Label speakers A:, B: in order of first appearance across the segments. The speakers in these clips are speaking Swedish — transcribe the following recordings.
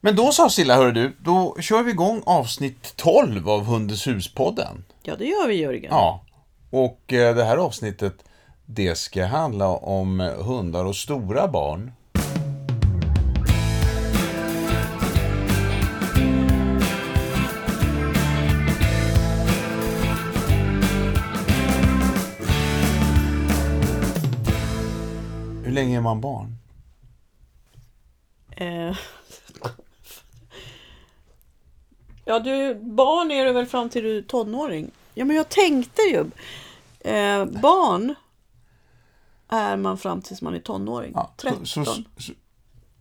A: Men då sa Silla, hörru du, då kör vi igång avsnitt 12 av Hundens hus-podden.
B: Ja, det gör vi Jörgen.
A: Ja, och eh, det här avsnittet, det ska handla om eh, hundar och stora barn. Hur länge är man barn?
B: Eh. Ja, du, barn är du väl fram till du är tonåring? Ja, men jag tänkte ju. Eh, barn är man fram tills man är tonåring.
A: Ja, så-
B: 13
A: så, så,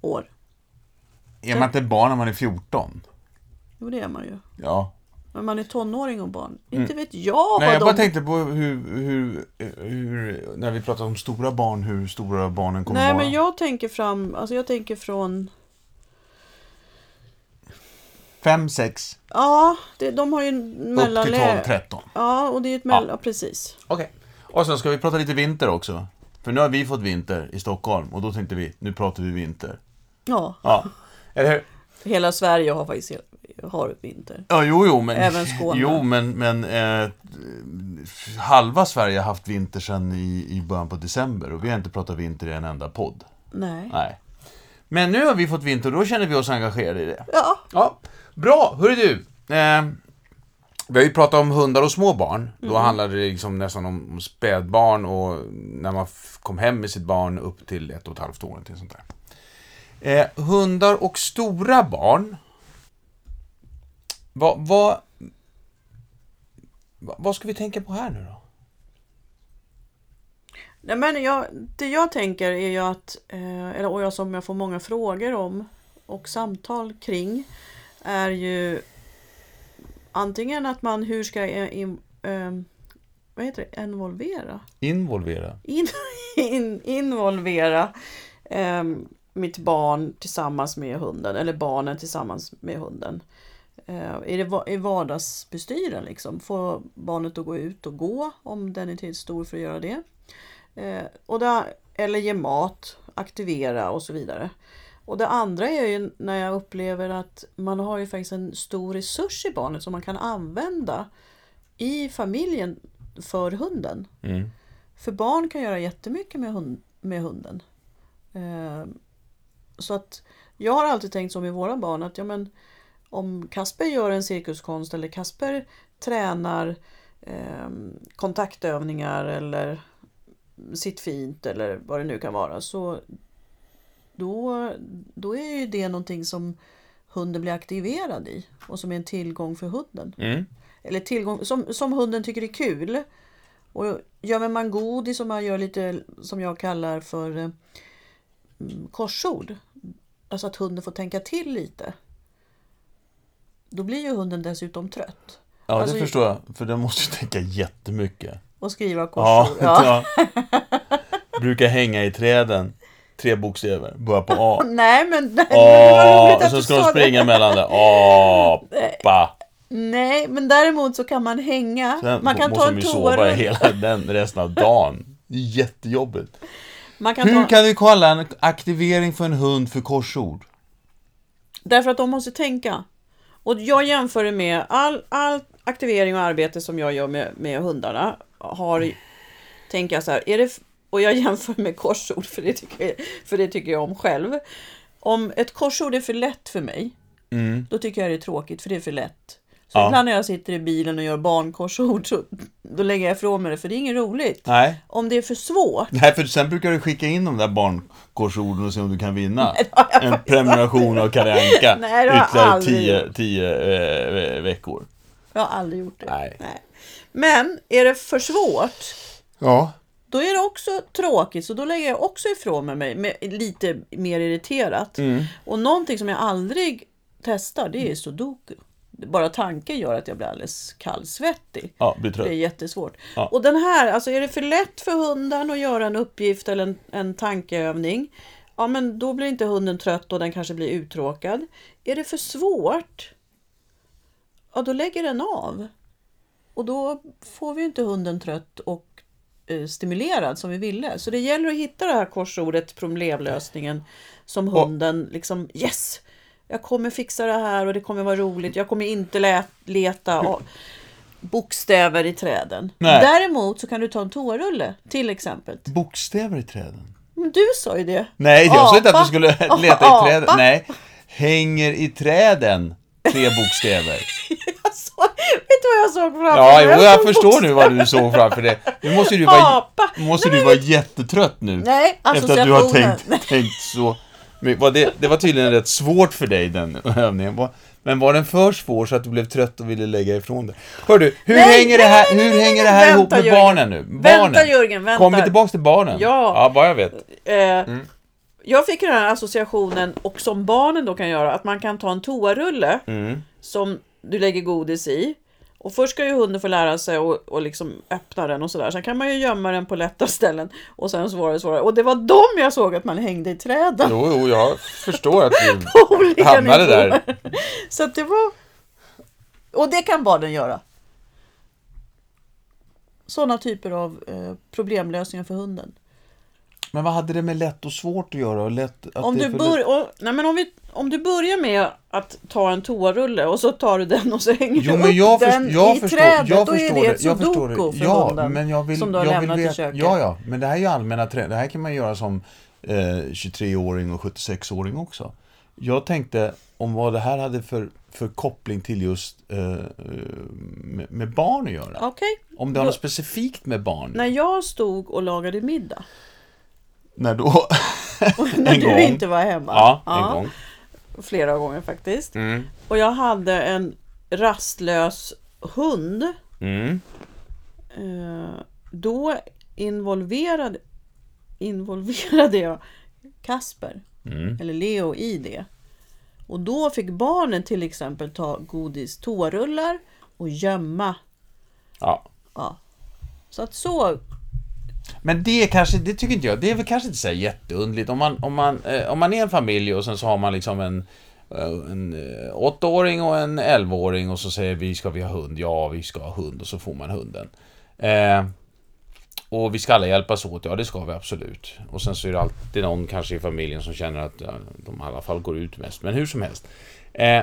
B: år.
A: är man inte barn när man är 14?
B: Jo, det är man ju.
A: Ja.
B: Men man är tonåring och barn. Inte vet jag
A: Mm. Nej, jag
B: vad
A: bara
B: de...
A: tänkte på hur, hur, hur, när vi pratar om stora barn, hur stora barnen kommer
B: Nej,
A: vara.
B: men jag tänker fram, alltså jag tänker från...
A: Fem, sex,
B: Ja, det, de har ju en
A: upp till 12,
B: mellanlä...
A: 13.
B: Ja, och det är ju ett mellan... Ja, precis.
A: Okej. Och sen ska vi prata lite vinter också. För nu har vi fått vinter i Stockholm och då tänkte vi, nu pratar vi vinter.
B: Ja,
A: Ja, eller hur?
B: hela Sverige har faktiskt har vinter.
A: Ja, jo, jo, men...
B: Även Skåne.
A: Jo, men, men eh, halva Sverige har haft vinter sedan i, i början på december och vi har inte pratat vinter i en enda podd.
B: Nej.
A: Nej. Men nu har vi fått vinter och då känner vi oss engagerade i det.
B: Ja,
A: Ja, bra. Hörru du. Eh, vi har ju pratat om hundar och små barn. Då handlade det liksom nästan om om spädbarn och när man f- kom hem med sitt barn upp till ett och ett halvt år. någonting Sånt där. Eh, hundar och stora barn. Vad, vad, vad vad ska vi tänka på här nu då?
B: Nej, men jag, det jag tänker är ju att, eh, eller och jag som jag får många frågor om och samtal kring, är ju antingen att man, hur ska jag in, ehm, vad heter det, involvera?
A: Involvera.
B: In, in, involvera ehm, mitt barn tillsammans med hunden, eller barnen tillsammans med hunden. Eh, I, det, va- I vardagsbestyren liksom. Få barnet att gå ut och gå om den är till stor för att göra det. Eh, och det, eller ge mat, aktivera och så vidare. Och det andra är ju när jag upplever att man har ju faktiskt en stor resurs i barnet som man kan använda i familjen för hunden.
A: Mm.
B: För barn kan göra jättemycket med, hund, med hunden. Eh, så att jag har alltid tänkt så med våra barn att ja, men, om Kasper gör en cirkuskonst eller Kasper tränar eh, kontaktövningar eller sitt fint eller vad det nu kan vara så då, då är ju det någonting som hunden blir aktiverad i och som är en tillgång för hunden
A: Mm.
B: eller tillgång som, som hunden tycker är kul. Och gör man godis som man gör lite som jag kallar för eh, mm, korsord. Alltså att hunden får tänka till lite. Då blir ju hunden dessutom trött.
A: Ja, det
B: Alltså,
A: förstår jag. För den måste ju tänka jättemycket.
B: Och skriva
A: Ja,
B: korsord. Ja.
A: ja. Brukar hänga i träden. Tre bokstäver, börjar på A.
B: Nej men, nej, men det var
A: A,
B: roligt att
A: så
B: du
A: ska de
B: sa det.
A: springa mellan det. Apa.
B: Nej men däremot så kan man hänga.
A: Sen
B: man kan
A: måste
B: ta
A: de
B: en
A: ju sova
B: toarunda.
A: hela den resten av dagen. Det är Jättejobbigt.
B: Man kan ta...
A: Hur kan du kalla en aktivering för en hund för korsord?
B: Därför att de måste tänka. Och jag jämför det med all, all aktivering och arbete som jag gör med, med hundarna. Har, tänker jag så här, är det, f- och jag jämför med korsord för det, tycker jag, för det tycker jag om själv. Om ett korsord är för lätt för mig,
A: Mm.
B: då tycker jag det är tråkigt för det är för lätt. Så
A: Ja.
B: ibland när jag sitter i bilen och gör barnkorsord, så, då lägger jag ifrån mig det för det är inget roligt.
A: Nej.
B: Om det är för svårt,
A: Nej, för sen brukar du skicka in de där barnkorsorden och se om du kan vinna. En prenumeration av Kalle Anka.
B: Nej, det har jag
A: Ytterligare
B: aldrig
A: tio, tio eh, eh, veckor.
B: jag har aldrig gjort det.
A: Nej.
B: Men är det för svårt,
A: Ja.
B: Då är det också tråkigt, så då lägger jag också ifrån mig mig med lite mer irriterat.
A: Mm.
B: Och någonting som jag aldrig testar, det är sudoku. Bara tanken gör att jag blir alldeles kallsvettig.
A: Ja, blir trött.
B: Det är jättesvårt.
A: Ja.
B: Och den här, alltså är det för lätt för hunden att göra en uppgift eller en, en tankeövning, ja men då blir inte hunden trött och den kanske blir uttråkad. Är det för svårt, ja då lägger den av. Och då får vi ju inte hunden trött och eh, stimulerad som vi ville. Så det gäller att hitta det här korsordet, problemlösningen, som hunden liksom yes! Jag kommer fixa det här och det kommer vara roligt. Jag kommer inte lä- leta a- bokstäver i träden.
A: Nej.
B: Däremot så kan du ta en toarulle till exempel.
A: Bokstäver i träden?
B: Men du sa ju det.
A: Nej, jag sa inte att
B: Apa.
A: du skulle leta
B: Apa.
A: i träden. Nej. Hänger i träden. Tre bokstäver.
B: Jag sa, vet du vad jag såg framför
A: Ja,
B: mig?
A: jo, jag
B: såg
A: förstår nu vad du såg framför dig. Nu måste ju du vara,
B: Apa.
A: måste du vara jättetrött nu.
B: Nej,
A: Efter att du har
B: associationen.
A: tänkt, tänkt så. Men var det, det var tydligen rätt svårt för dig den övningen. Var- Men var den för svår så att du blev trött och ville lägga ifrån dig? Hör du, hur
B: Nej,
A: hänger det
B: nej,
A: här,
B: nej,
A: hur
B: nej,
A: hänger
B: nej,
A: det här
B: vänta,
A: ihop med
B: Jörgen.
A: barnen nu? Barnen.
B: Vänta Jörgen, vänta.
A: Kommer vi tillbaka till barnen?
B: Ja.
A: ja, vad jag vet.
B: Eh,
A: Mm.
B: Jag fick ju den här associationen, och som barnen då kan göra, att man kan ta en toarulle
A: Mm.
B: som du lägger godis i. Och först ska ju hunden få lära sig att och liksom öppna den och sådär. Sen kan man ju gömma den på lätta ställen. Och sen svårare och svårare. Och det var dem jag såg att man hängde i träden.
A: Jo, jo, jag förstår att
B: På olika
A: du hamnade där.
B: nivåer. Så att det var... Och det kan barnen göra. Sådana typer av eh, problemlösningar för hunden.
A: Men vad hade det med lätt och svårt att göra? Och lätt, att
B: Om
A: det är
B: du,
A: för
B: bör,
A: lätt-
B: om, nej men om, vi, om du börjar med att ta en toarulle och så tar du den och så hänger
A: Jo,
B: du
A: men jag,
B: upp den
A: först, jag
B: i
A: förstår,
B: trädet.
A: jag
B: Då är
A: förstår
B: det ett
A: jag förstår
B: sudoku för
A: ja,
B: hunden
A: men jag vill,
B: som du har
A: jag
B: lämnat
A: vill
B: i köket.
A: Ja, ja, men det här är ju allmänna trend. Det här kan man göra som eh, 23-åring och 76-åring också. Jag tänkte om vad det här hade för, för koppling till just eh, eh, med, med barn att göra.
B: Okej.
A: Om det har något specifikt med barn.
B: När jag stod och lagade middag,
A: När då?
B: när
A: En
B: du
A: gång.
B: inte var hemma,
A: Ja,
B: Ja,
A: en gång.
B: flera gånger faktiskt,
A: Mm.
B: och jag hade en rastlös hund,
A: Mm.
B: eh, då involverade, involverade jag Kasper.
A: Mm.
B: eller Leo i det. Och då fick barnen till exempel ta godis tårullar och gömma.
A: Ja.
B: Ja. Så att så,
A: Men det är kanske, det tycker inte jag, det är väl kanske inte så här jätteundligt om man, om man, eh, om man är en familj och sen så har man liksom en eh, en eh, åttaåring och en elvaåring och så säger vi ska vi ha hund, ja vi ska ha hund och så får man hunden. Eh, och vi ska alla hjälpas åt, ja det ska vi absolut. Och sen så är det alltid någon kanske i familjen som känner att ja, de i alla fall går ut mest, men hur som helst. Eh,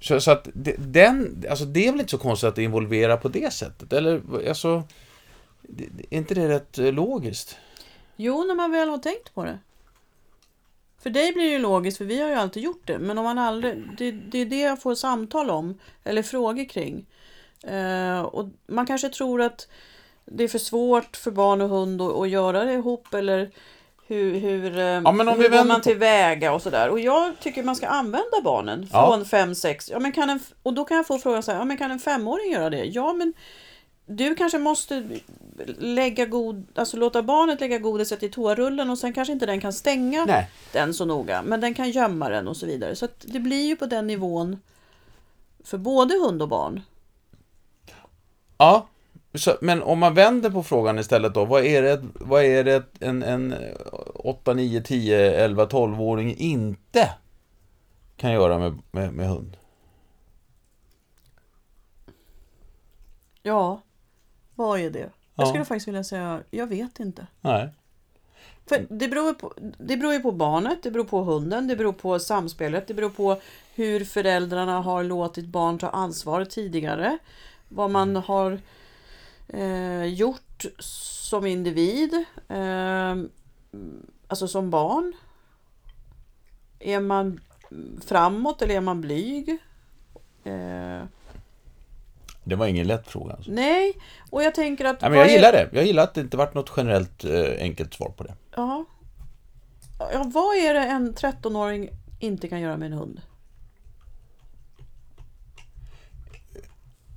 A: så, så att det- den, alltså det är väl inte så konstigt att involvera på det sättet, eller alltså det- det- Är inte det rätt eh, logiskt?
B: jo när man väl har tänkt på det. För dig blir det ju logiskt, för vi har ju alltid gjort det. Men om man aldrig, det, det är det jag får samtal om, eller frågor kring. Eh, och man kanske tror att det är för svårt för barn och hund att, att göra det ihop, eller hur, hur, eh,
A: Ja, men om vi
B: hur går
A: vänder
B: man
A: på-
B: tillväga och sådär. Och jag tycker man ska använda barnen
A: Ja.
B: från 5-6. Ja. men kan en f- och då kan jag få frågan så här, ja, men kan en femåring göra det? Ja, men du kanske måste lägga god, alltså låta barnet lägga godiset i toarullen och sen kanske inte den kan stänga
A: Nej.
B: den så noga, men den kan gömma den och så vidare. Så att det blir ju på den nivån för både hund och barn.
A: Ja. Så, men om man vänder på frågan istället då, vad är det, vad är det en, en eh, 8, 9, 10, 11, 12-åring inte kan göra med, med, med hund?
B: Ja, vad är det?
A: Ja.
B: Jag skulle faktiskt vilja säga, jag vet inte.
A: Nej.
B: För det beror, ju på, det beror ju på barnet, det beror på hunden, det beror på samspelet, det beror på hur föräldrarna har låtit barn ta ansvar tidigare. Vad man
A: Mm.
B: har eh, gjort som individ, eh, alltså som barn. Är man framåt eller är man blyg? Eh,
A: Det var ingen lätt fråga. Alltså.
B: nej, och jag tänker att...
A: Nej, men
B: vad
A: jag
B: är-
A: gillar det. Jag gillar att det inte varit något generellt eh, enkelt svar på det.
B: Ja. ja, vad är det en 13-åring inte kan göra med en hund?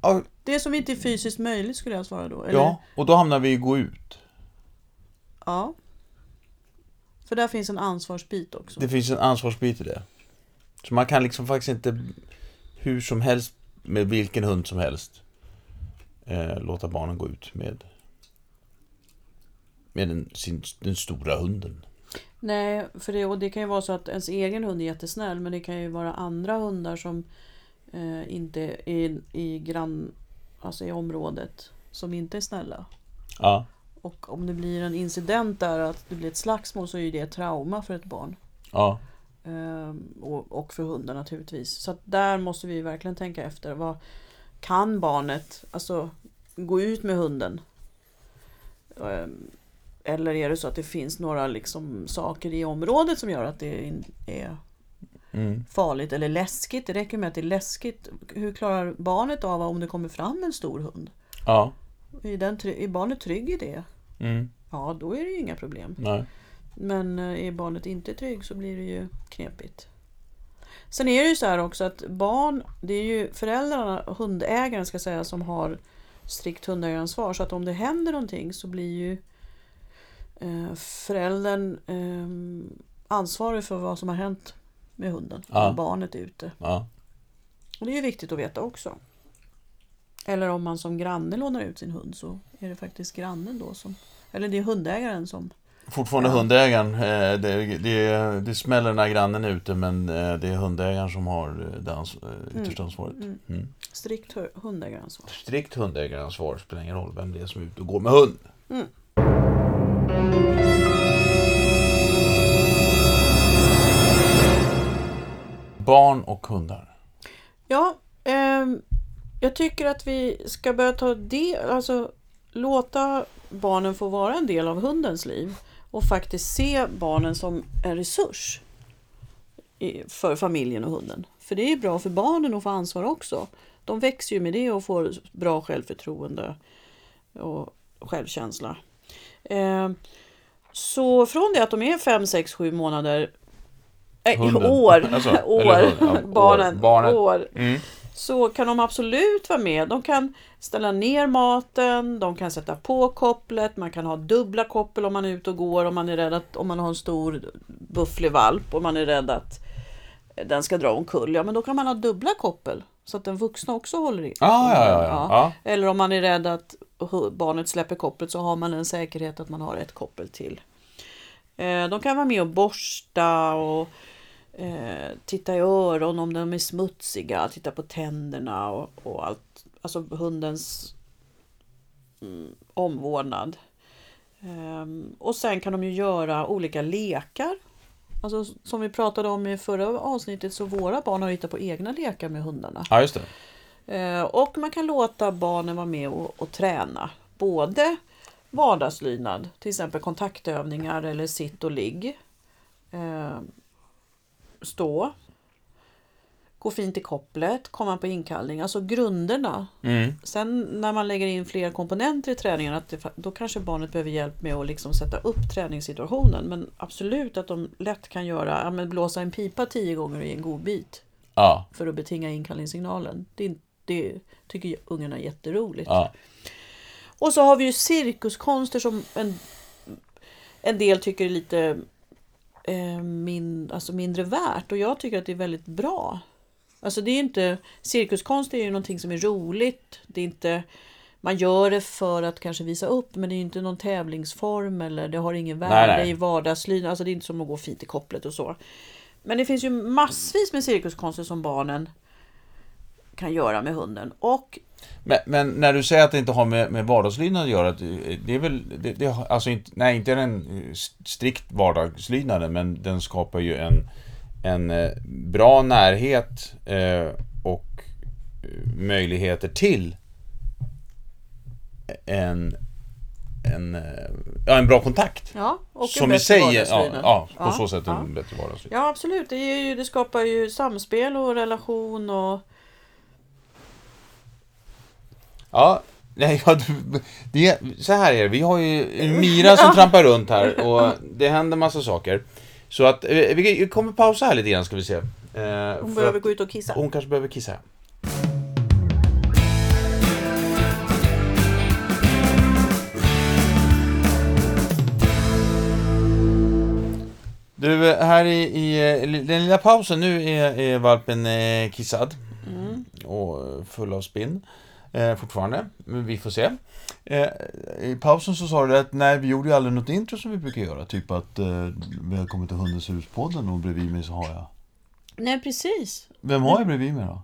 A: Ja,
B: Det som inte är fysiskt möjligt skulle jag svara då. Eller?
A: ja, och då hamnar vi i gå ut.
B: ja. För där finns en ansvarsbit också.
A: Det finns en ansvarsbit i det. Så man kan liksom faktiskt inte hur som helst med vilken hund som helst eh, låta barnen gå ut med med den, sin, den stora hunden.
B: Nej, för det, och det kan ju vara så att ens egen hund är jättesnäll men det kan ju vara andra hundar som eh, inte är i, i grann, alltså i området som inte är snälla.
A: Ja,
B: Och om det blir en incident där att det blir ett slagsmål så är ju det ett trauma för ett barn.
A: ja,
B: Eh, Ehm, och, och för hundar naturligtvis. Så att där måste vi verkligen tänka efter. Vad kan barnet alltså, gå ut med hunden? Ehm, eller är det så att det finns några liksom, saker i området som gör att det in- är
A: Mm.
B: farligt eller läskigt? Det räcker med att det är läskigt. Hur klarar barnet av om det kommer fram en stor hund?
A: Ja.
B: Är, den, try- är barnet trygg i det?
A: Mm.
B: Ja, då är det ju inga problem.
A: Nej.
B: Men eh, är barnet inte trygg så blir det ju knepigt. Sen är det ju så här också att barn, det är ju föräldrarna, hundägaren ska säga, som har strikt hundägaransvar. Så att om det händer någonting så blir ju eh, föräldern eh, ansvarig för vad som har hänt med hunden.
A: Ja.
B: Om barnet är ute.
A: Ja.
B: Och det är ju viktigt att veta också. Eller om man som granne lånar ut sin hund så är det faktiskt grannen då som... Eller det är hundägaren som...
A: Fortfarande hundägaren. eh, Det, det, det smäller när grannen är ute men eh, det är hundägaren som har eh, det ans- eh, yttersta ansvaret.
B: Mm,
A: Mm.
B: strikt hu- hundägaransvar.
A: Strikt hundägaransvar spelar ingen roll vem det är som är ute och går med hund.
B: Mm.
A: Barn och hundar.
B: Ja, ehm, jag tycker att vi ska börja ta del, alltså låta barnen få vara en del av hundens liv och faktiskt se barnen som en resurs i- för familjen och hunden. För det är ju bra för barnen att få ansvar också. De växer ju med det och får bra självförtroende och självkänsla. Ehm, så från det att de är 5, 6, 7 månader, äh,
A: Hunden.
B: år,
A: Alltså, eller
B: år,
A: hunden. Ja, år.
B: barnen,
A: Barnet.
B: år,
A: Mm.
B: så kan de absolut vara med. De kan ställa ner maten, de kan sätta på kopplet, man kan ha dubbla koppel om man är ute och går, om man är rädd att, om man har en stor bufflig valp och man är rädd att den ska dra omkull, ja men då kan man ha dubbla koppel så att den vuxna också håller i.
A: Ah, ja, ja, ja. ja.
B: Eller om man är rädd att hu- barnet släpper kopplet så har man en säkerhet att man har ett koppel till. Eh, De kan vara med och borsta och eh, titta i öron om de är smutsiga, titta på tänderna och, och allt. Alltså hundens mm, omvårdnad. Ehm, och sen kan de ju göra olika lekar. Alltså, som vi pratade om i förra avsnittet så våra barn har hittat på egna lekar med hundarna.
A: ja, just det.
B: Eh, Och man kan låta barnen vara med och, och träna. Både vardagslydnad, till exempel kontaktövningar eller sitt och ligg. Eh, Stå. Gå fint i kopplet, komma på inkallning, alltså grunderna.
A: Mm.
B: Sen när man lägger in fler komponenter i träningen, att det, fa- då kanske barnet behöver hjälp med att liksom sätta upp träningssituationen. Men absolut att de lätt kan göra, ja, men blåsa en pipa tio gånger i en god bit
A: Ja,
B: för att betinga inkallningssignalen. Det, det tycker ju ungarna är jätteroligt.
A: ja.
B: Och så har vi ju cirkuskonster som en, en del tycker är lite eh, min, alltså mindre värt och jag tycker att det är väldigt bra. Alltså det är ju inte, cirkuskonst är ju någonting som är roligt. Det är inte, man gör det för att kanske visa upp men det är ju inte någon tävlingsform eller det har ingen
A: Nej,
B: värde
A: nej.
B: i vardagslydnad. Alltså det är inte som att gå fint i kopplet och så. Men det finns ju massvis med cirkuskonster som barnen kan göra med hunden. Och
A: Men, men när du säger att det inte har med, med vardagslydnad att göra, att eh, det det är väl, det, det, har- alltså inte, nej inte den eh, strikt vardagslydnaden, men den skapar ju en, en eh, bra närhet eh, och eh, möjligheter till en, en, eh, ja, en bra kontakt.
B: Ja, och en
A: Som i
B: bättre
A: sig, ja,
B: vardagslydnad.
A: ja, på
B: Ja,
A: så sätt
B: ja.
A: en bättre vardagslydnad.
B: Ja, absolut. Det, är ju, det skapar ju samspel och relation och...
A: Ja, nej, ja, du, det, så här är det. Vi har ju Mira som trampar runt här och det händer massa saker. Så att eh, vi, vi kommer pausa här lite grann ska vi se. Eh,
B: Hon
A: för
B: behöver
A: att,
B: gå ut och kissa.
A: hon kanske behöver kissa. Du, eh, här i, i eh, li- den lilla pausen nu är, är valpen eh, kissad
B: Mm.
A: och eh, full av spinn eh, fortfarande, men vi får se. Eh, I pausen så sa du att nej, vi gjorde ju aldrig något intro som vi brukar göra, typ att eh, välkommen till Hundens hus-podden och bredvid mig så har jag.
B: Nej, precis.
A: Vem har jag bredvid mig då?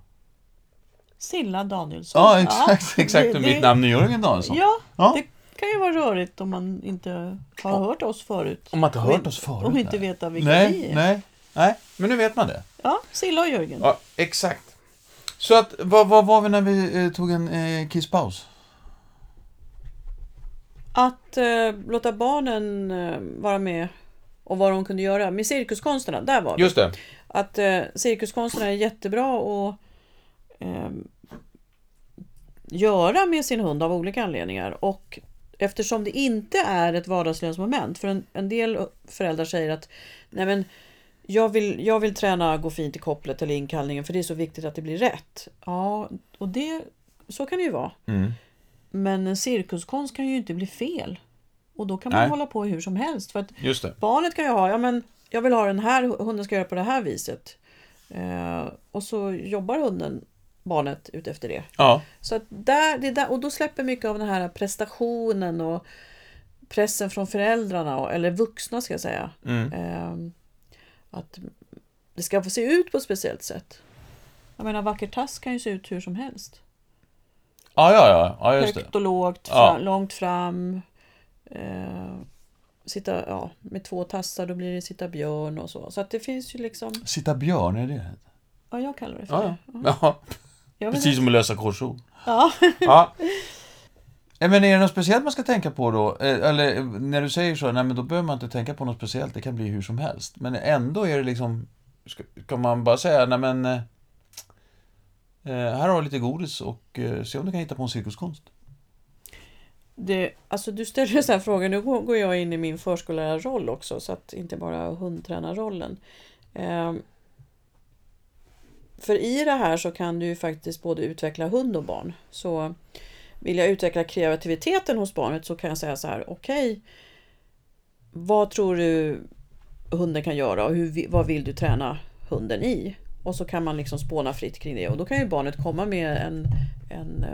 B: Silla Danielsson.
A: Ja, exakt, exakt.
B: det-
A: Och mitt namn är Jörgen Danielsson.
B: Ja,
A: Ja.
B: det kan ju vara rörigt om man inte har hört oss förut.
A: Om man inte
B: Om
A: hört
B: in-
A: oss förut.
B: Om inte
A: nej.
B: veta vilka
A: nej,
B: vi är.
A: nej. Nej, men nu vet man det.
B: Ja, Silla och Jörgen.
A: Ja, exakt. Så att, vad, vad var vi när vi eh, tog en eh, kisspaus?
B: Att eh, låta barnen eh, vara med och vad de kunde göra. Med cirkuskonsterna, där var vi.
A: Just det.
B: Att eh, cirkuskonsterna är jättebra att eh, göra med sin hund av olika anledningar. Och eftersom det inte är ett vardagslönsmoment. För en, en del föräldrar säger att Nej, men, jag, vill, jag vill träna gå fint i kopplet eller inkallningen för det är så viktigt att det blir rätt. Ja, och det, så kan det ju vara. Men en cirkuskonst kan ju inte bli fel. Och då kan man
A: Nej.
B: hålla på hur som helst. För att
A: Just det.
B: Barnet kan ju ha, ja men jag vill ha den här, hunden ska göra på det här viset. Eh, och så jobbar hunden, barnet, utefter det.
A: Ja.
B: Så att där, det är där, och då släpper mycket av den här prestationen och pressen från föräldrarna, och, eller vuxna ska jag säga. Eh, att det ska få se ut på ett speciellt sätt. Jag menar vacker tass kan ju se ut hur som helst.
A: Ja, ja, ja. ja just det.
B: Högt och lågt,
A: Ja.
B: fram, långt fram. Eh, sitta ja, med två tassar, då blir det sitta björn och så. Så att det finns ju liksom,
A: Sitta björn, är det
B: ja jag kallar det för
A: Ja,
B: det.
A: ja. ja.
B: Jag vet
A: Precis som att lösa korsord.
B: Ja.
A: Ja. Eh, Men är det något speciellt man ska tänka på då? Eh, Eller eh, när du säger så, nej men då behöver man inte tänka på något speciellt, det kan bli hur som helst. Men ändå är det liksom, ska, kan man bara säga, nej men eh, eh, här har du lite godis och eh, se om du kan hitta på en cirkuskonst.
B: Det, alltså du ställer så här frågan, nu går går jag in i min förskollärarroll också, så att inte bara hundtränarrollen. Ehm, för i det här så kan du ju faktiskt både utveckla hund och barn. Så vill jag utveckla kreativiteten hos barnet så kan jag säga så här, okej, vad tror du hunden kan göra och hur, vi- vad vill du träna hunden i? Och så kan man liksom spåna fritt kring det och då kan ju barnet komma med en, en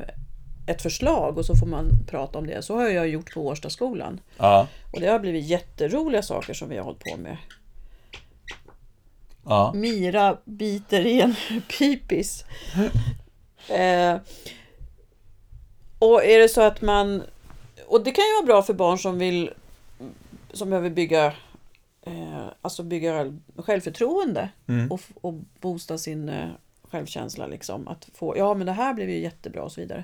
B: ett förslag och så får man prata om det. Så har jag gjort på Årstaskolan.
A: Ja.
B: Och det har blivit jätteroliga saker som vi har hållit på med.
A: Ja.
B: Mira biter i en pipis. Eh, och är det så att man... Och det kan ju vara bra för barn som vill som behöver bygga, eh, alltså bygga självförtroende
A: Mm.
B: och, f- och boosta sin eh, självkänsla. Liksom. Att få, ja men det här blev ju jättebra och så vidare.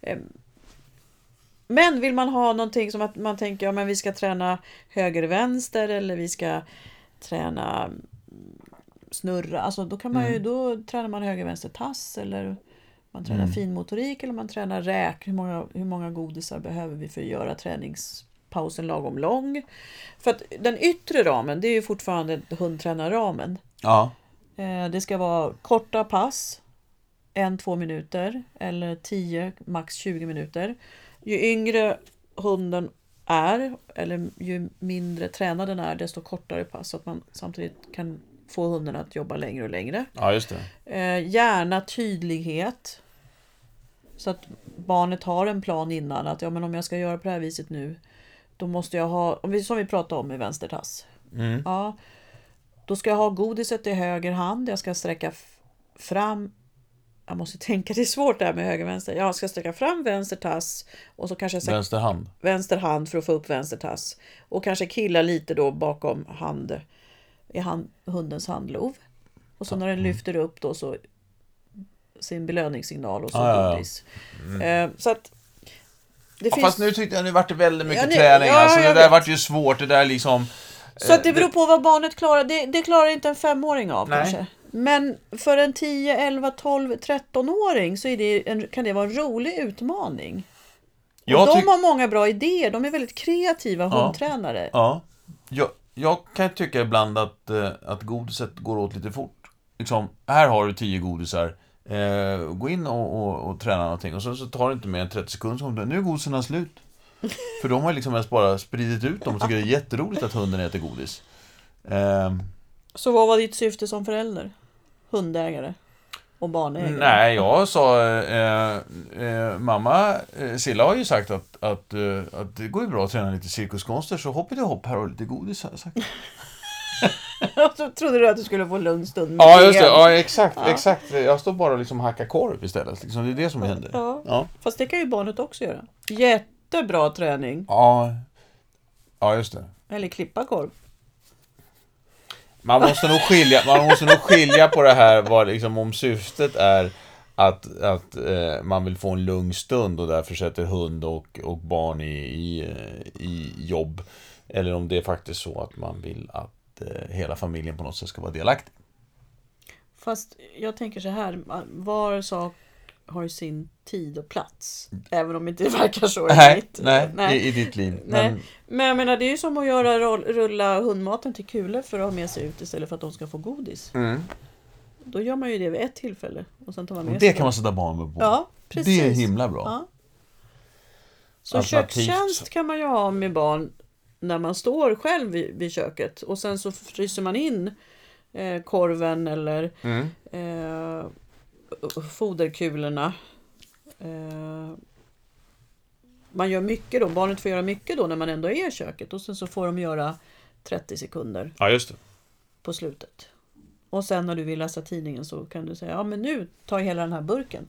B: Eh, men vill man ha någonting som att man tänker ja men vi ska träna höger-vänster eller vi ska träna mm, snurra, alltså då kan man ju, då tränar man höger-vänster tass eller man tränar finmotorik eller man tränar räk. Hur många, hur många godisar behöver vi för att göra träningspausen lagom lång? För att den yttre ramen, det är ju fortfarande hundtränarramen.
A: Ja.
B: Eh, Det ska vara korta pass, en, två minuter eller 10, max 20 minuter. Ju yngre hunden är, eller ju mindre tränad den är, desto kortare pass. Så att man samtidigt kan få hunden att jobba längre och längre.
A: Ja, just det.
B: Eh, gärna tydlighet. Så att barnet har en plan innan att ja, men om jag ska göra på det här viset nu då måste jag ha, om vi- som vi pratade om i vänstertass.
A: Mm.
B: Ja, då ska jag ha godiset i höger hand, jag ska sträcka f- fram jag måste tänka, det är svårt det här med höger och vänster. Jag ska sträcka fram vänster tass och så kanske jag ska
A: Vänster hand.
B: vänster hand för att få upp vänster tass. Och kanske killa lite då bakom hand, i hand, hundens handlov. Och så när den
A: Mm.
B: lyfter upp då så sin belöningssignal och så
A: Ja, ja, Mm. ja.
B: godis. Eh, så att det
A: Ja,
B: finns...
A: fast nu tyckte jag nu vart det väldigt mycket
B: Ja, nu-
A: träning.
B: ja,
A: alltså, det
B: jag
A: där
B: vet.
A: vart ju svårt, det där liksom...
B: Så att det beror på vad barnet klarar. Det, det klarar inte en femåring av
A: Nej.
B: kanske. Men för en 10, 11, 12, 13-åring så är det en, kan det vara en rolig utmaning.
A: Jag
B: och de
A: tyck-
B: har många bra idéer. De är väldigt kreativa hundtränare.
A: Ja. Jag, jag kan tycka ibland att, eh, att godiset går åt lite fort. Liksom, här har du tio godisar. Eh, gå in och, och, och träna någonting. Och så, så tar det inte mer än 30 sekunder. så kommer det, Nu är godisarna slut. För de har liksom ens bara spridit ut dem och tycker det är jätteroligt att hunden äter godis. Ehm,
B: Så vad var ditt syfte som förälder? Hundägare och barnägare?
A: Nej, jag sa... Eh, eh, mamma eh, Silla har ju sagt att, att, eh, att det går ju bra att träna lite cirkuskonster så hopp i det hopp här och lite godis har jag sagt.
B: Så trodde du att du skulle få en lugn stund med
A: Ja, just det.
B: det.
A: Ja, exakt,
B: Ja.
A: exakt. Jag står bara och liksom hackar korv istället. Liksom, det är det som händer.
B: Ja.
A: Ja.
B: Fast det kan ju barnet också göra. Jättebra träning.
A: ja. Ja, just det.
B: Eller klippa korv.
A: Man måste nog skilja, man måste nog skilja på det här vad liksom, om syftet är att, att eh, man vill få en lugn stund och därför sätter hund och, och barn i, i, eh, i jobb. Eller om det är faktiskt så att man vill att eh, hela familjen på något sätt ska vara delaktig.
B: Fast jag tänker så här, var sak har ju sin tid och plats. Även om inte det verkar så i
A: Nej,
B: mitt.
A: nej,
B: Nej.
A: I, i ditt liv.
B: Nej.
A: Men,
B: Men jag menar, det är ju som att göra roll, rulla hundmaten till kulor för att ha med sig ut istället för att de ska få godis.
C: Mm.
B: Då gör man ju det vid ett tillfälle och sen tar man med
A: och
B: sig
A: det kan man sätta barnen på.
B: Ja, precis.
A: det är himla bra.
B: Ja. Så
A: Alternativt-
B: kökstjänst kan man ju ha med barn när man står själv vid, vid köket och sen så fryser man in eh, korven eller
C: Mm.
B: eh, foderkulorna. Eh, man gör mycket då, barnet får göra mycket då när man ändå är i köket och sen så får de göra 30 sekunder
C: Ja, just det.
B: på slutet. Och sen när du vill läsa tidningen så kan du säga ja men nu tar jag hela den här burken.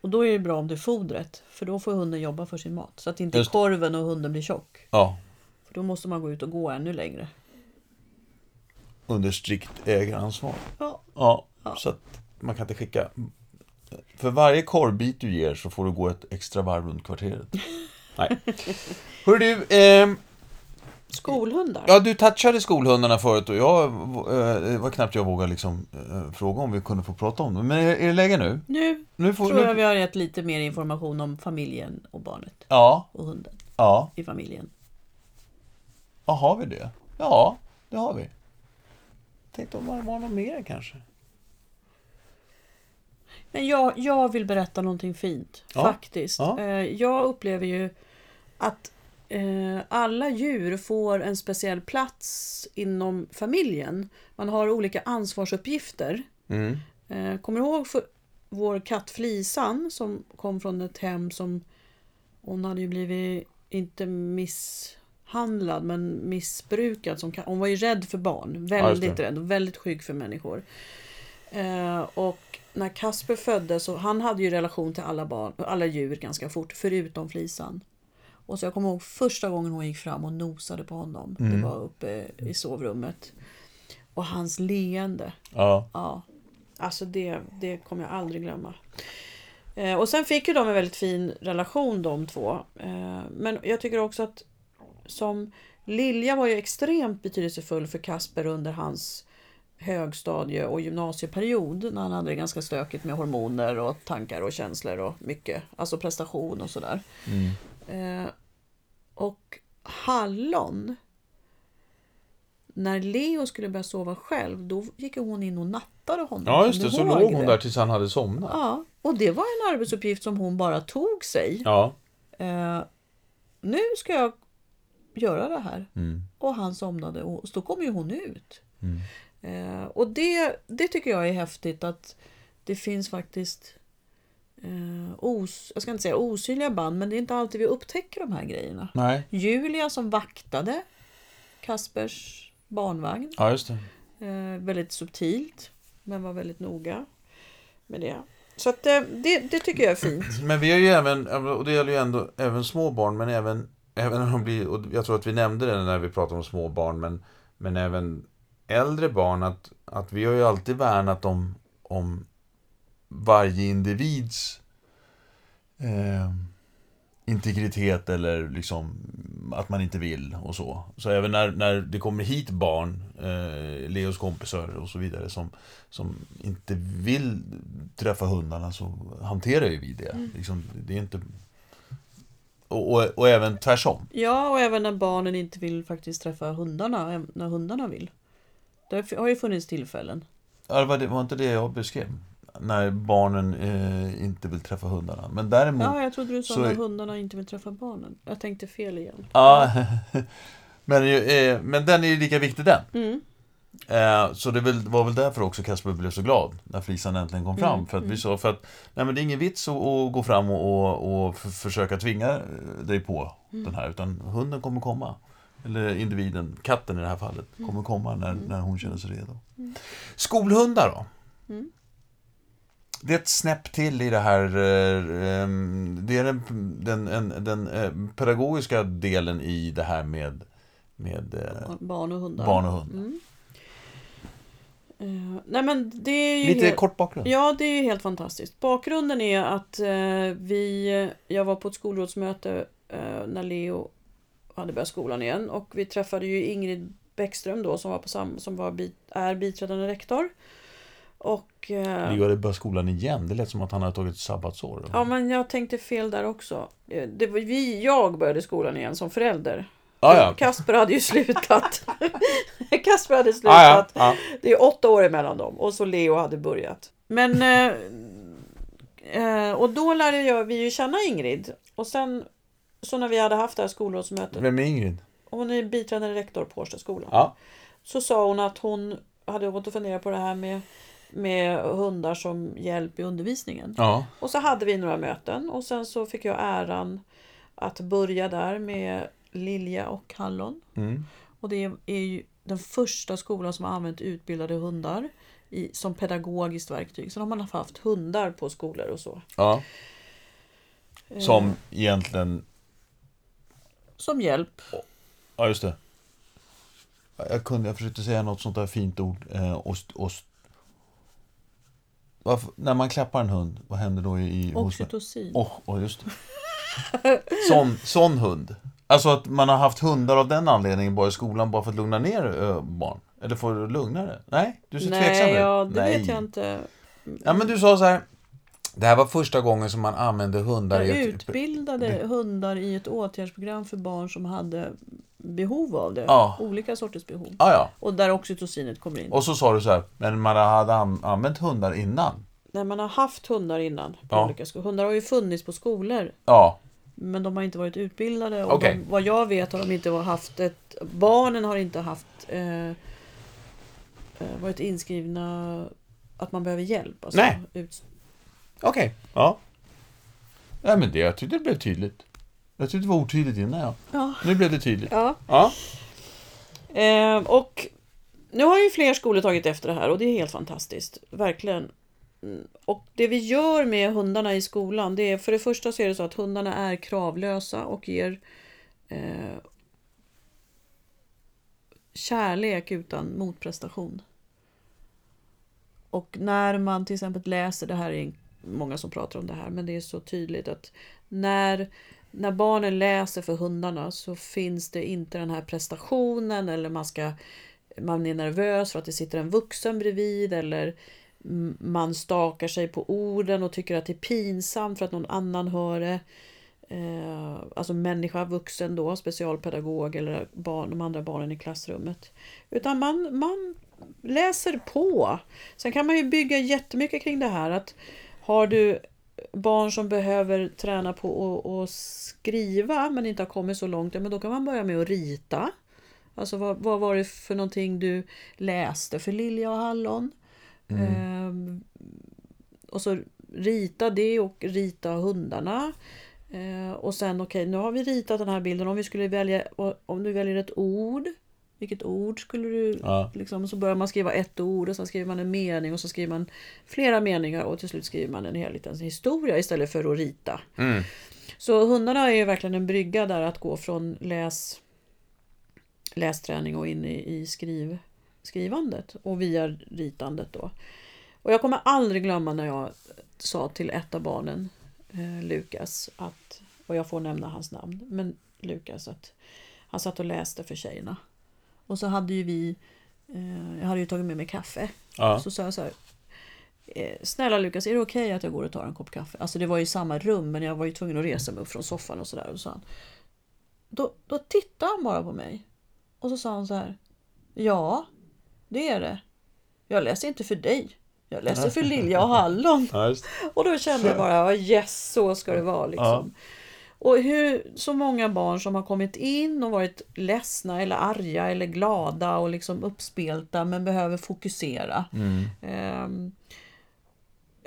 B: Och då är det bra om det är fodret för då får hunden jobba för sin mat. Så att inte
A: Just det.
B: korven och hunden blir tjock.
A: Ja,
B: För då måste man gå ut och gå ännu längre.
A: under strikt ägaransvar.
B: Ja,
A: Ja,
B: Ja.
A: så att man kan inte skicka... För varje korvbit du ger så får du gå ett extra varv runt kvarteret.
C: Hör du, ehm,
B: skolhundar.
A: Ja, du touchade skolhundarna förut och jag eh, det var knappt jag vågade liksom eh, fråga om vi kunde få prata om dem. Men är, är det läge nu?
B: Nu
A: Nu får
B: tror jag
A: nu,
B: vi har gett lite mer information om familjen och barnet
A: Ja,
B: och hunden
A: ja,
B: i familjen.
A: ja, har vi det? Ja, det har vi. Tänkte om det var något mer kanske?
B: Men jag, jag vill berätta någonting fint,
A: Ja.
B: faktiskt.
A: Ja.
B: Eh, Jag upplever ju att eh, alla djur får en speciell plats inom familjen. Man har olika ansvarsuppgifter.
C: mm.
B: Eh, Kommer du ihåg för vår katt Flisan som kom från ett hem som hon hade ju blivit, inte misshandlad, men missbrukad. Som, ka- hon var ju rädd för barn,
C: det.
B: väldigt rädd och väldigt skygg för människor. Eh, och när Kasper föddes, så han hade ju relation till alla, barn, alla djur ganska fort, förutom Flisan. Och så jag kommer ihåg första gången hon gick fram och nosade på honom. Det var uppe i sovrummet. Och hans leende.
A: Ja,
B: Ja, alltså det, det kommer jag aldrig glömma. Eh, och sen fick ju de en väldigt fin relation de två. Eh, men jag tycker också att som Lilja var ju extremt betydelsefull för Kasper under hans högstadie och gymnasieperiod när han hade det ganska stökigt med hormoner och tankar och känslor och mycket, alltså prestation och sådär.
C: Mm.
B: Eh, och Hallon, när Leo skulle börja sova själv, då gick hon in och nattade honom.
C: ja, just det.
B: Kommer du ihåg
C: Så låg hon
B: det?
C: där tills han hade somnat.
B: Ja, och det var en arbetsuppgift som hon bara tog sig.
C: Ja.
B: Eh, nu ska jag göra det här.
A: mm.
B: Och han somnade och så då kom ju hon ut.
A: Mm.
B: Eh, och det, det tycker jag är häftigt att det finns faktiskt eh, os, jag ska inte säga osynliga band men det är inte alltid vi upptäcker de här grejerna.
A: nej,
B: Julia som vaktade Kaspers barnvagn.
A: ja just det.
B: Eh, väldigt subtilt men var väldigt noga med det. Så att, eh, det, det tycker jag är fint.
A: Men vi har ju även, och det gäller ju ändå även små barn, men även, även när de blir, och jag tror att vi nämnde det när vi pratade om små barn, men, men även äldre barn, att, att vi har ju alltid värnat om, om varje individs eh, integritet eller liksom att man inte vill och så. Så även när, när det kommer hit barn, eh, Leos kompisar och så vidare som, som inte vill träffa hundarna så hanterar ju vi det.
B: Mm.
A: Liksom, det är inte... Och, och, och även tvärsom.
B: Ja, och även när barnen inte vill faktiskt träffa hundarna, även när hundarna vill. Det har ju funnits tillfällen.
A: Ja, Det var, det var inte det jag beskrev. När barnen eh, inte vill träffa hundarna. Men däremot...
B: Ja, jag trodde du sa
A: Mm. Så-
B: när hundarna inte vill träffa barnen. Jag tänkte fel igen.
A: Ja, men, det är ju, eh, men den är ju lika viktig den.
B: Mm.
A: Eh, Så det väl- var väl därför också Kasper blev så glad när flisan äntligen kom fram.
B: Mm,
A: För att vi
B: mm.
A: sa för att nej, men det är ingen vits att, att gå fram och, och, och f- försöka tvinga eh, dig på
B: Mm.
A: den här. Utan hunden kommer komma. Eller individen, katten i det här fallet, kommer komma när, när hon känner sig redo.
C: Skolhundar då?
B: Mm.
A: Det är ett snäpp till i det här. eh, ehm, Det är den, den, en- den eh, pedagogiska delen i det här med, med eh,
B: Barn och hundar.
A: barn och hund.
B: Mm. Eh, nej men det är ju
A: Lite
B: helt-
A: kort bakgrund.
B: Ja, det är helt fantastiskt. Bakgrunden är att eh, vi, jag var på ett skolrådsmöte eh, när Leo hade börjat skolan igen och vi träffade ju Ingrid Bäckström då som, var på sam, som var bit, är biträdande rektor. Och, eh,
A: Leo hade börjat skolan igen. Det lät som att han hade tagit ett sabbatsår.
B: ja, men jag tänkte fel där också. Eh, Det var, vi, jag började skolan igen som förälder.
A: ah, ja.
B: Kasper hade ju slutat. Kasper hade slutat.
A: Ah, ja. Ah.
B: Det är åtta år emellan dem och så Leo hade börjat. Men... eh, Eh, och då lärde jag, vi ju känna Ingrid. Och sen, så när vi hade haft det här skolrådsmötet,
A: Vem är Ingrid?
B: hon är biträdande rektor på Årstaskolan.
A: Ja.
B: Så sa hon att hon hade gått och funderat på det här med, med hundar som hjälp i undervisningen.
A: Ja.
B: Och så hade vi några möten och sen så fick jag äran att börja där med Lilja och Hallon.
A: Mm.
B: Och det är ju den första skolan som har använt utbildade hundar i, som pedagogiskt verktyg. Sen har man haft hundar på skolor och så.
A: ja. Som egentligen...
B: Som hjälp.
A: Ja, just det. Jag, kunde, jag försökte säga något sånt där fint ord. Eh, ost, ost. Varför, när man klappar en hund, vad händer då i... i hos-
B: Oxytocin.
A: Åh, åh, just det. Sån, sån hund. Alltså att man har haft hundar av den anledningen bara i skolan bara för att lugna ner ö, barn. Eller för att lugna det. Nej, du ser tveksam
B: Nej,
A: ut.
B: ja, det
A: Nej.
B: vet jag inte.
A: Ja, men du sa så här. Det här var första gången som man använde hundar
B: Jag
A: i ett...
B: utbildade hundar i ett åtgärdsprogram för barn som hade behov av det.
A: Ja.
B: Olika sorters behov.
A: Ja, ja.
B: Och där oxytocinet kommer in.
A: Och så sa du så här, men man hade an- använt hundar innan.
B: När man har haft hundar innan. På
A: Ja.
B: olika skolor. Hundar har ju funnits på skolor
A: Ja,
B: Men de har inte varit utbildade och
A: Okej.
B: de, vad jag vet har de inte haft ett... Barnen har inte haft... Eh, eh, varit inskrivna att man behöver hjälp. Alltså,
A: Nej.
B: Ut,
A: okej. Ja. ja, men det jag tyckte det blev tydligt. Jag tyckte det var otydligt innan, ja.
B: ja.
A: Nu blev det tydligt.
B: ja.
A: Ja.
B: Eh, och nu har ju fler skolor tagit efter det här och det är helt fantastiskt. Verkligen. Mm, Och det vi gör med hundarna i skolan, det är för det första så är det så att hundarna är kravlösa och ger eh, kärlek utan motprestation. Och när man till exempel läser, det här är många som pratar om det här, men det är så tydligt att när, när barnen läser för hundarna så finns det inte den här prestationen eller man, ska, man är nervös för att det sitter en vuxen bredvid eller m- man stakar sig på orden och tycker att det är pinsamt för att någon annan hör det. Eh, alltså människa, vuxen då, specialpedagog eller barn, de andra barnen i klassrummet. Utan man, man läser på. Sen kan man ju bygga jättemycket kring det här att har du barn som behöver träna på att att skriva men inte har kommit så långt, ja, men då kan man börja med att rita. Alltså vad, vad var det för någonting du läste för Lilja och Hallon? Ehm, och så rita det och rita hundarna. Eh, och sen okej, nu har vi ritat den här bilden. Om vi skulle välja, om du väljer ett ord, vilket ord skulle du
A: Ja.
B: Liksom, så börjar man skriva ett ord och sen skriver man en mening och så skriver man flera meningar och till slut skriver man en hel liten historia istället för att rita.
C: Mm.
B: Så hundarna är ju verkligen en brygga där att gå från läs, lästräning och in i, i skriv, skrivandet och via ritandet då. Och jag kommer aldrig glömma när jag sa till ett av barnen, eh, Lukas, att, och jag får nämna hans namn, men Lukas att han satt och läste för tjejerna. Och så hade ju vi, eh, jag hade ju tagit med mig kaffe.
A: Ja.
B: Så sa jag så här, eh, snälla Lukas, är det okej att jag går och tar en kopp kaffe? Alltså det var ju i samma rum men jag var ju tvungen att resa mig upp från soffan och sådär. Och så sa han, då, då tittade han bara på mig. Och så sa han så här, ja, det är det. Jag läser inte för dig. Jag läser för Lilja och Hallon.
A: Ja, just det.
B: Och då kände jag bara, ja, yes, så ska det vara. Liksom. Och hur så många barn som har kommit in och varit ledsna eller arga eller glada och liksom uppspelta men behöver fokusera.
A: Mm.
B: Ehm,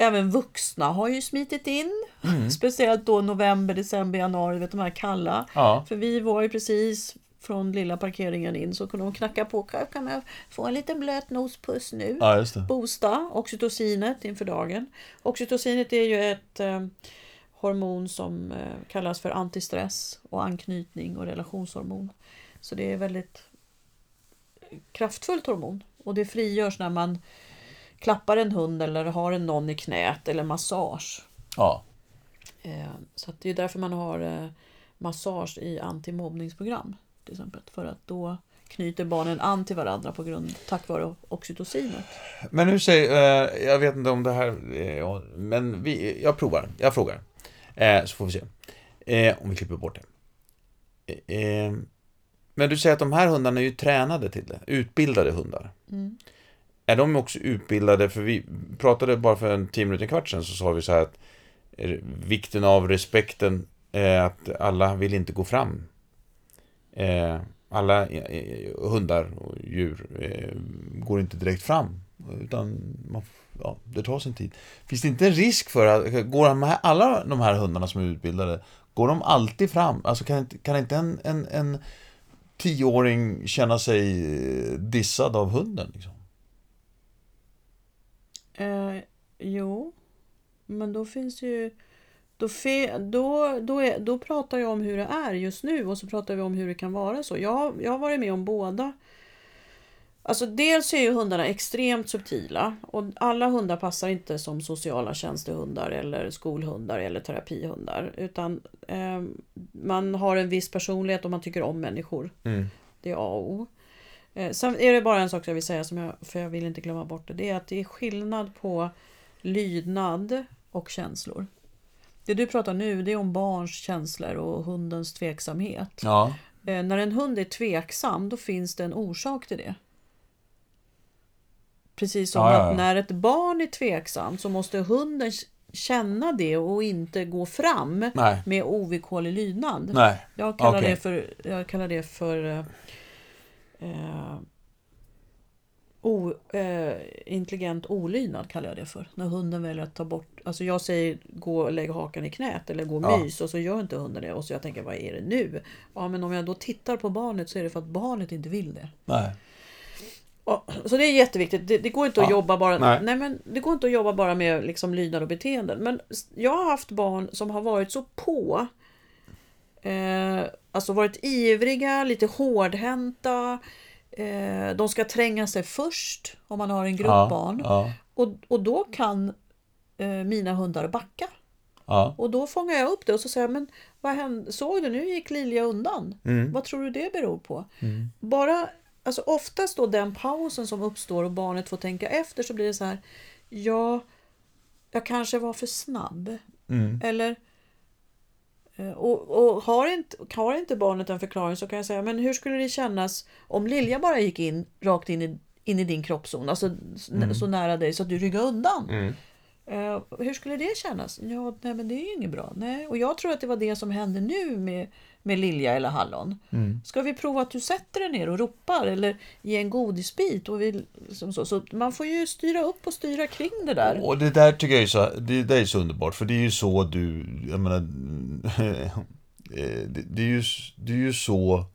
B: Även vuxna har ju smitit in. Speciellt då november, december, januari, vet de här kalla.
A: Ja.
B: För vi var ju precis från lilla parkeringen in så kunde de knacka på. Kan kan jag få en liten blöt nospuss nu?
A: Ja, just det.
B: Boosta oxytocinet inför dagen. Oxytocinet är ju ett eh, hormon som eh, kallas för antistress och anknytning och relationshormon. Så det är ett väldigt kraftfullt hormon Och det frigörs när man klappar en hund eller har en någon i knät eller massage.
C: Ja.
B: Eh, Så att det är därför man har eh, massage i antimobbningsprogram. Till exempel, för att då knyter barnen an till varandra på grund, tack vare oxytocinet.
A: Men nu säger, eh, jag vet inte om det här, eh, men vi, jag provar, jag frågar. Eh, så får vi se. Eh, om vi klipper bort det. Eh, men du säger att de här hundarna är ju tränade till det, utbildade hundar.
B: Mm.
A: Är de också utbildade, för vi pratade bara för en tio minuter, en kvart sedan, så sa vi så här att eh, vikten av respekten, eh, att alla vill inte gå fram. Eh, alla eh, hundar och djur eh, går inte direkt fram. Utan man, f- ja, det tar sin tid. Finns det inte en risk för att går de här, alla de här hundarna som är utbildade, går de alltid fram? Alltså kan, inte- kan inte en, en, en tioåring känna sig eh, dissad av hunden? Liksom?
B: Eh, jo, men då finns ju... Då, fe, då, då, är, då pratar jag om hur det är just nu och så pratar vi om hur det kan vara så. Jag, jag har varit med om båda. Alltså dels är ju hundarna extremt subtila och alla hundar passar inte som sociala tjänstehundar eller skolhundar eller terapihundar. Utan eh, man har en viss personlighet och man tycker om människor. Det är A och O. Eh, Sen är det bara en sak som jag vill säga, som jag, för jag vill inte glömma bort det. Det är att det är skillnad på lydnad och känslor. Det du pratar nu, det är om barns känslor och hundens tveksamhet.
A: Ja.
B: Eh, När en hund är tveksam, då finns det en orsak till det. Precis som
A: Ja, ja, ja.
B: att när ett barn är tveksamt så måste hunden k- känna det och inte gå fram
A: Nej.
B: med ovillkorlig lydnad.
A: Nej.
B: Jag kallar,
A: Okej.
B: det för, jag kallar det för eh, eh, o, eh, intelligent olydnad kallar jag det för. När hunden väljer att ta bort, alltså jag säger gå och lägg hakan i knät eller gå och
A: Ja.
B: mys och så gör inte hunden det och så jag tänker vad är det nu? Ja men om jag då tittar på barnet så är det för att barnet inte vill det.
A: Nej.
B: Ja, Så det är jätteviktigt. Det, det går inte att
A: Ja.
B: jobba bara
A: Nej.
B: nej. men det går inte att jobba bara med liksom lydnad och beteenden. Men s- jag har haft barn som har varit så på. Eh, alltså varit ivriga, lite hårdhänta. Eh, de ska tränga sig först om man har en grupp
A: Ja,
B: barn.
A: Ja.
B: Och, och då kan eh, mina hundar backa.
A: Ja.
B: Och då fångar jag upp det och så säger jag, men vad hände? Såg du, nu gick Lilja undan. Vad tror du det beror på? Bara, alltså oftast då den pausen som uppstår och barnet får tänka efter så blir det så här, ja, jag kanske var för snabb. Eller, eh, och, och har, inte, har inte barnet en förklaring så kan jag säga, men hur skulle det kännas om Lilja bara gick in, rakt in i, in i din kroppszon, alltså s- så nära dig så att du ryggade undan. Eh, hur skulle det kännas? Ja, nej, men det är ju inget bra. Nej. Och jag tror att det var det som hände nu med, med Lilja eller Hallon. Ska vi prova att du sätter dig ner och ropar eller ger en godisbit? Och vi, liksom så. så man får ju styra upp och styra kring det där.
A: Och det där tycker jag är så, det, det är så underbart, för det är ju så du, jag menar, eh, det, det, är ju, s- det är ju så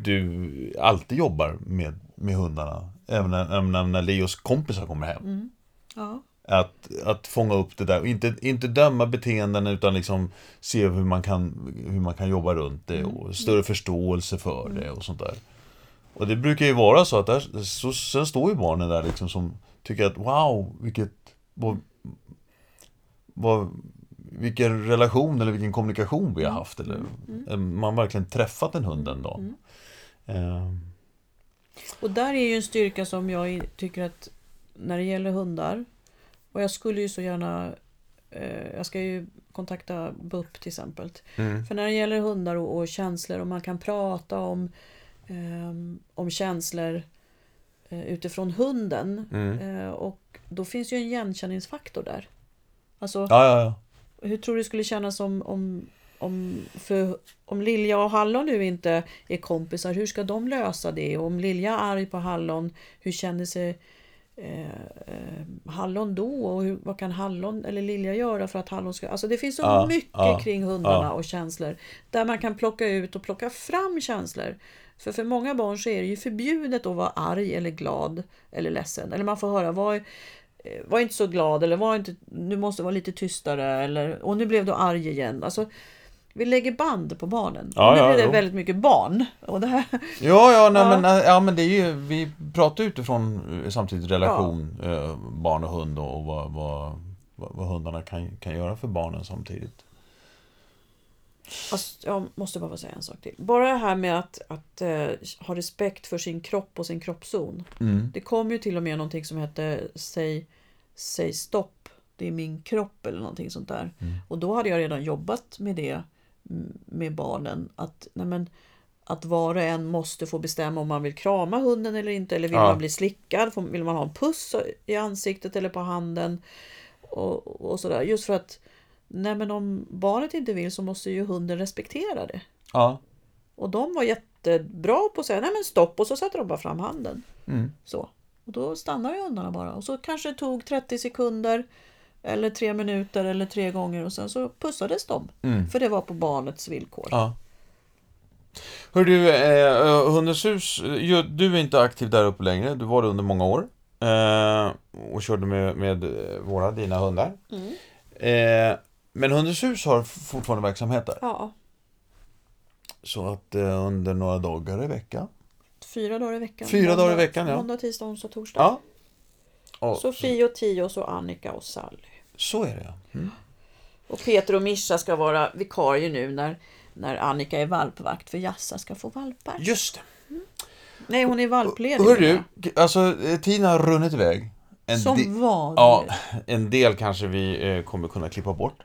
A: du alltid jobbar med, med hundarna. Även när, även när- när Leos kompisar kommer hem.
B: Ja.
A: Att, att fånga upp det där och inte, inte döma beteenden utan liksom se hur man kan, hur man kan jobba runt det och större förståelse för det och sånt där. Och det brukar ju vara så att där, så, sen står ju barnen där liksom som tycker att wow, vilket, vad, vad, vilken relation eller vilken kommunikation vi har haft. Eller, Man har verkligen träffat en hund en
B: Mm.
A: dag. Eh,
B: Och där är ju en styrka som jag i- tycker att när det gäller hundar och jag skulle ju så gärna eh, jag ska ju kontakta BUP till exempel. För när det gäller hundar och, och känslor och man kan prata om, ehm, om känslor eh, utifrån hunden. Eh, och då finns ju en igenkänningsfaktor där. Alltså,
A: ja, ja, ja.
B: hur tror du det skulle kännas om, om, om, för, om Lilja och Hallon nu inte är kompisar? Hur ska de lösa det? Och om Lilja är arg på Hallon, hur känner sig eh, eh, Hallon då? Och hur, vad kan Hallon eller Lilja göra för att Hallon ska... Alltså det finns så
A: Ja,
B: mycket
A: ja,
B: kring hundarna
A: ja.
B: och känslor. Där man kan plocka ut och plocka fram känslor. För för många barn så är det ju förbjudet att vara arg eller glad eller ledsen. Eller man får höra vad eh, var inte så glad eller var inte, nu måste vara lite tystare eller och nu blev du arg igen. Alltså, Vi lägger band på barnen.
A: Ja,
B: nu
A: ja,
B: blir det
A: jo.
B: väldigt mycket barn. Och det här,
A: Ja, ja, nej,
B: Ja.
A: Men, eh, ja men det är ju, vi pratar utifrån eh, samtidigt relation, eh, barn och hund och, och vad, vad, vad, vad hundarna kan, kan göra för barnen samtidigt.
B: Fast jag måste bara få säga en sak till. Bara det här med att, att eh, ha respekt för sin kropp och sin kroppszon.
A: Mm.
B: Det kom ju till och med någonting som hette Säg, säg stopp, det är min kropp eller någonting sånt där. Och då hade jag redan jobbat med det mm, med barnen. Att, nej men, att var och en måste få bestämma om man vill krama hunden eller inte. Eller vill
A: Ja.
B: man bli slickad? Får- Vill man ha en puss i ansiktet eller på handen? Och, och sådär. Just för att nej men om barnet inte vill så måste ju hunden respektera det.
A: Ja.
B: Och de var jättebra på att säga nej men stopp och så satte de bara fram handen.
A: Mm.
B: Så. Och då stannar ju hundarna bara. Och så kanske det tog 30 sekunder eller tre minuter eller tre gånger och sen så pussades de. För det var på barnets villkor.
A: Mm. ja. Hör du, eh, Hundens hus, eh, ju- du är inte aktiv där uppe längre. Du var det under många år. Eh, och körde med, med eh, våra, dina hundar.
B: Mm.
A: Eh, men Hundens hus har fortfarande verksamhet där.
B: Ja,
A: Så att eh, under några dagar i veckan.
B: fyra dagar i veckan.
A: Fyra dagar i veckan, ja.
B: Måndag, tisdag, onsdag, torsdag.
A: Ja. Och,
B: Sofie och Tio och så Annika och Sally.
A: Så är det ja.
B: Och Peter och Mischa ska vara vikarier nu när, när Annika är valpvakt för Jassa ska få valpar.
A: Just det.
B: Nej, hon är valpledig.
A: Hör du, alltså eh, tiden har runnit iväg. En
B: Som
A: de-
B: vad?
A: Ja, en del kanske vi eh, kommer kunna klippa bort.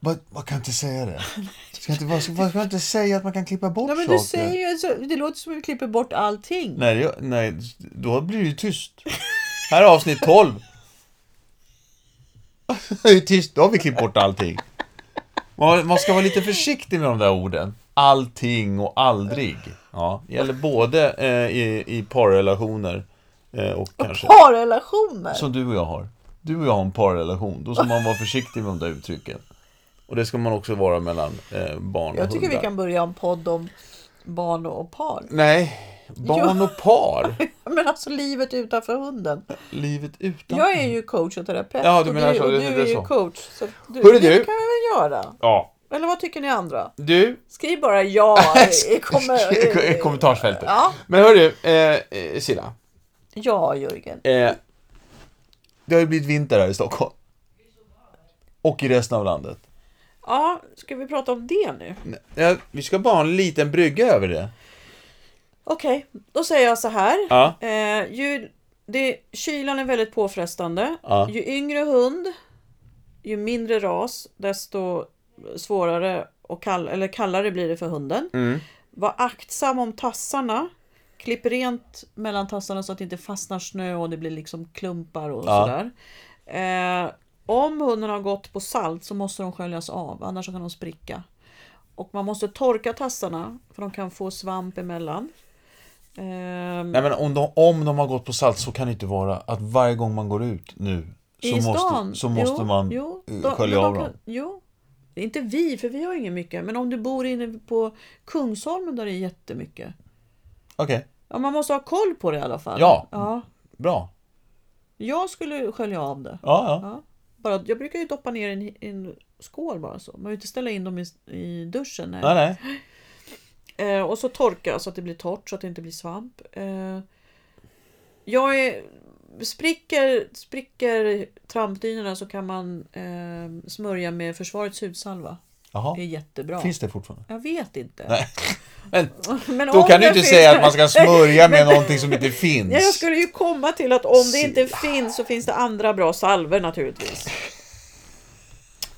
A: Vad vad kan jag inte säga det? Ska jag inte, vad, vad kan jag inte säga att man kan klippa bort
B: Nej, men
A: saker?
B: du säger ju, så, det låter som att vi klipper bort allting.
A: nej, jag, nej, då blir det ju tyst. Här är avsnitt 12. Det är tyst, då har vi klippt bort allting. Man, man ska vara lite försiktig med de där orden. Allting och aldrig. Ja, det gäller både eh, i, i parrelationer eh, och kanske...
B: Parrelationer!
A: Som du och jag har. Du och jag har en parrelation. Då ska man vara försiktig med de där uttrycken. Och det ska man också vara mellan eh, barn och
B: Jag tycker
A: hundar.
B: vi kan börja en podd om barn och par.
A: Nej, barn och par.
B: Men alltså livet utanför hunden.
A: Livet utan...
B: Jag är ju coach och terapeut.
A: Ja, du menar
B: och du,
A: så,
B: och
A: det-
B: du
A: det är
B: är ju
A: så.
B: coach. Så du,
A: Hörru,
B: det
A: du.
B: kan vi väl göra?
A: Ja.
B: Eller vad tycker ni andra?
A: Du,
B: Skriv bara ja i, i, kommer,
A: i kommentarsfältet.
B: Ja.
A: Men hörru, eh, eh, Silla.
B: ja, Jörgen.
A: Eh, det har ju blivit vinter här i Stockholm. Och i resten av landet.
B: Ja, ska vi prata om det nu?
A: Ja, vi ska bara ha en liten brygga över det.
B: Okej, då säger jag så här.
A: Ja.
B: Eh, ju, det, kylan är väldigt påfrestande.
A: Ja.
B: Ju yngre hund, ju mindre ras, desto svårare och kall, eller kallare blir det för hunden.
A: Mm.
B: Var aktsam om tassarna. Klipp rent mellan tassarna så att det inte fastnar snö och det blir liksom klumpar och
A: Ja.
B: sådär. Eh, om hunden har gått på salt så måste de sköljas av, annars så kan de spricka. Och man måste torka tassarna, för de kan få svamp emellan. Ehm,
A: Nej men om de, om de har gått på salt så kan det inte vara att varje gång man går ut nu så
B: I
A: måste,
B: stan?
A: Så måste
B: jo,
A: man
B: jo,
A: eh,
B: då-
A: skölja
B: men de
A: av
B: kan-
A: dem.
B: Jo. Det är Inte vi, för vi har inget mycket. Men om du bor inne på Kungsholmen där det är jättemycket.
A: Okej,
B: Ja, man måste ha koll på det i alla fall.
A: Ja.
B: ja.
A: bra.
B: Jag skulle skölja av det.
A: Ja, ja.
B: Ja. Bara, jag brukar ju doppa ner i en, i en skål bara så. Man vill ju inte ställa in dem i, i duschen. Nej.
A: Nej, nej.
B: Eh, och så torka så att det blir torrt, så att det inte blir svamp. Eh, jag är, spricker, spricker trampdynorna så kan man eh, smörja med försvarets hudsalva.
A: Jaha.
B: Det är jättebra.
A: Finns det fortfarande?
B: Jag vet inte.
A: Nej. Men
B: Men
A: då
B: om
A: kan du
B: det
A: inte
B: finns-
A: säga att man ska smörja med någonting som inte finns.
B: Ja, jag skulle ju komma till att om det inte finns så finns det andra bra salver naturligtvis.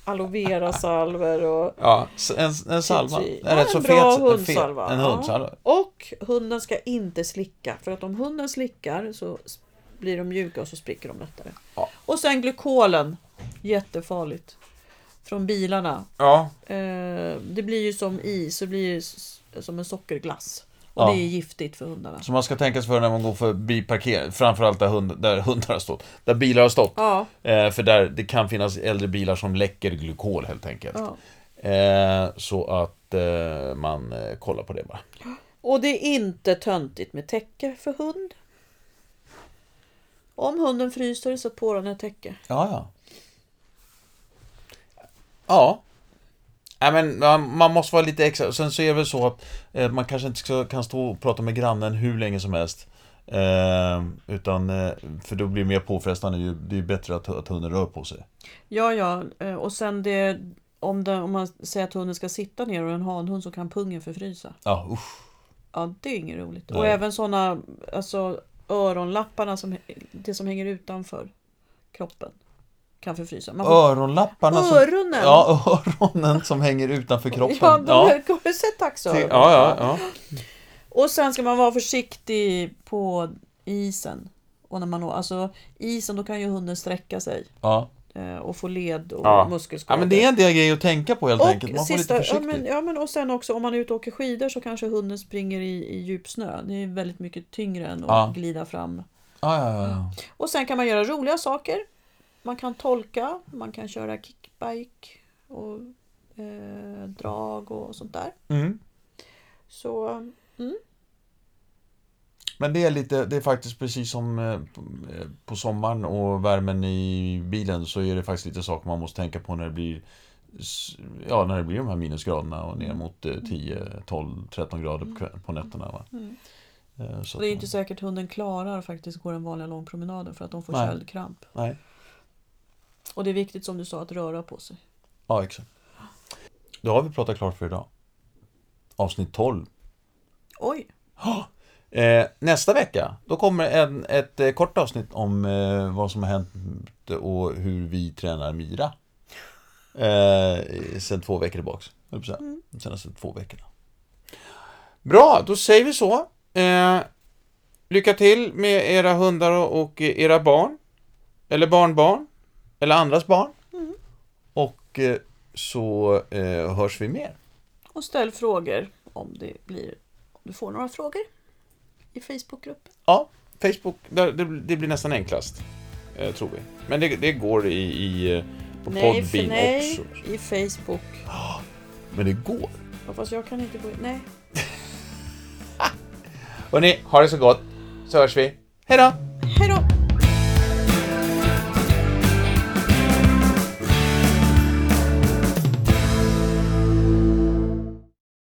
B: Aloe vera salver och
A: Ja, s- en, en salva.
B: Citri.
A: En rätt så
B: en bra
A: fet. En, fet,
B: hundsalva.
A: en
B: Ja.
A: hundsalva.
B: Och hunden ska inte slicka. För att om hunden slickar så s- blir de mjuka och så spricker de lättare.
A: Ja.
B: Och sen glykolen. Jättefarligt. Från bilarna.
A: Ja.
B: Eh, det blir ju som is, det blir ju s- som en sockerglass. Och
A: Ja.
B: det är giftigt för hundarna.
A: Så man ska tänka sig för när man går förbi parkering, framförallt där, hund, där hundar har stått. Där bilar har stått.
B: Ja,
A: Eh, för där, det kan finnas äldre bilar som läcker glykol helt enkelt.
B: ja.
A: Eh, så att eh, man eh, kollar på det bara.
B: Och det är inte töntigt med täcke för hund. Om hunden fryser, sätt på den ett täcke.
A: Ja, ja. Ja, Nej, men ja, man måste vara lite extra. Sen så är det väl så att eh, man kanske inte ska, kan stå och prata med grannen hur länge som helst. Eh, utan, eh, för då blir det mer påfrestande. Det är ju- Det är ju bättre att, att hunden rör på sig.
B: Ja, ja. eh, Och sen det... Om, det, om man säger att hunden ska sitta ner och en hanhund så kan pungen förfrysa.
A: Ja, usch.
B: Ja, det är inget roligt.
A: Nej.
B: Och även sådana, alltså öronlapparna, som, det som hänger utanför kroppen, kan förfrysa. Man får,
A: Öronlapparna som...
B: öronen!
A: Ja, öronen som hänger utanför kroppen.
B: Ja, de
A: Ja.
B: har du sett
A: Ja,
B: taxöron?
A: ja, ja.
B: Och sen ska man vara försiktig på isen. Och när man, å- alltså isen, då kan ju hunden sträcka sig
A: ja.
B: eh, och få led och
C: Ja.
B: muskelskador.
A: Ja, men det är en del grejer att tänka på helt enkelt. Man
B: och
A: får vara
B: sista,
A: lite
B: ja,
A: försiktig.
B: men, ja, men och sen också om man är ute och åker skidor så kanske hunden springer i, i djup snö. Det är väldigt mycket tyngre än att
A: Ja.
B: glida fram.
A: Ja, ja, ja, ja.
B: Och sen kan man göra roliga saker. Man kan tolka, man kan köra kickbike och eh, drag och sånt där.
A: Mm.
B: Så
A: Men det är lite, det är faktiskt precis som eh, på- eh, på sommaren och värmen i bilen så är det faktiskt lite saker man måste tänka på när det blir s- Ja, när det blir de här minusgraderna och
B: Mm.
A: ner mot eh, 10, 12, 13 grader på, kväll, på nätterna. Va?
B: Mm.
A: Eh, Så
B: Och det är
A: att
B: inte
A: man-
B: säkert hunden klarar faktiskt att gå den vanliga långpromenaden för att de får
A: Nej.
B: köldkramp.
A: Nej,
B: Och det är viktigt som du sa att röra på sig.
A: ja exakt. Då har vi pratat klart för idag. Avsnitt 12.
B: Oj!
A: Eh, nästa vecka, då kommer en, ett eh, kort avsnitt om eh, vad som har hänt och hur vi tränar Mira. Eh, sen två veckor tillbaks, höll jag på att
B: Mm.
A: säga. De senaste två veckorna.
C: Bra, då säger vi så. Eh, lycka till med era hundar och, och eh, era barn. Eller barnbarn.
A: Eller andras barn.
B: Mm.
A: Och eh, så eh, hörs vi mer.
B: Och ställ frågor om det blir om du får några frågor i Facebookgruppen.
C: Ja, Facebook, där, det, det blir nästan enklast. Eh, tror vi. Men det, det går i, i eh, på
B: Nej, för
C: Podbean
B: nej,
C: också.
B: i Facebook.
A: Men det går.
B: Ja, Fast jag kan inte gå in. Nej.
C: Hörrni, ha det så gott. Så hörs vi. Hej då!
B: Hej då!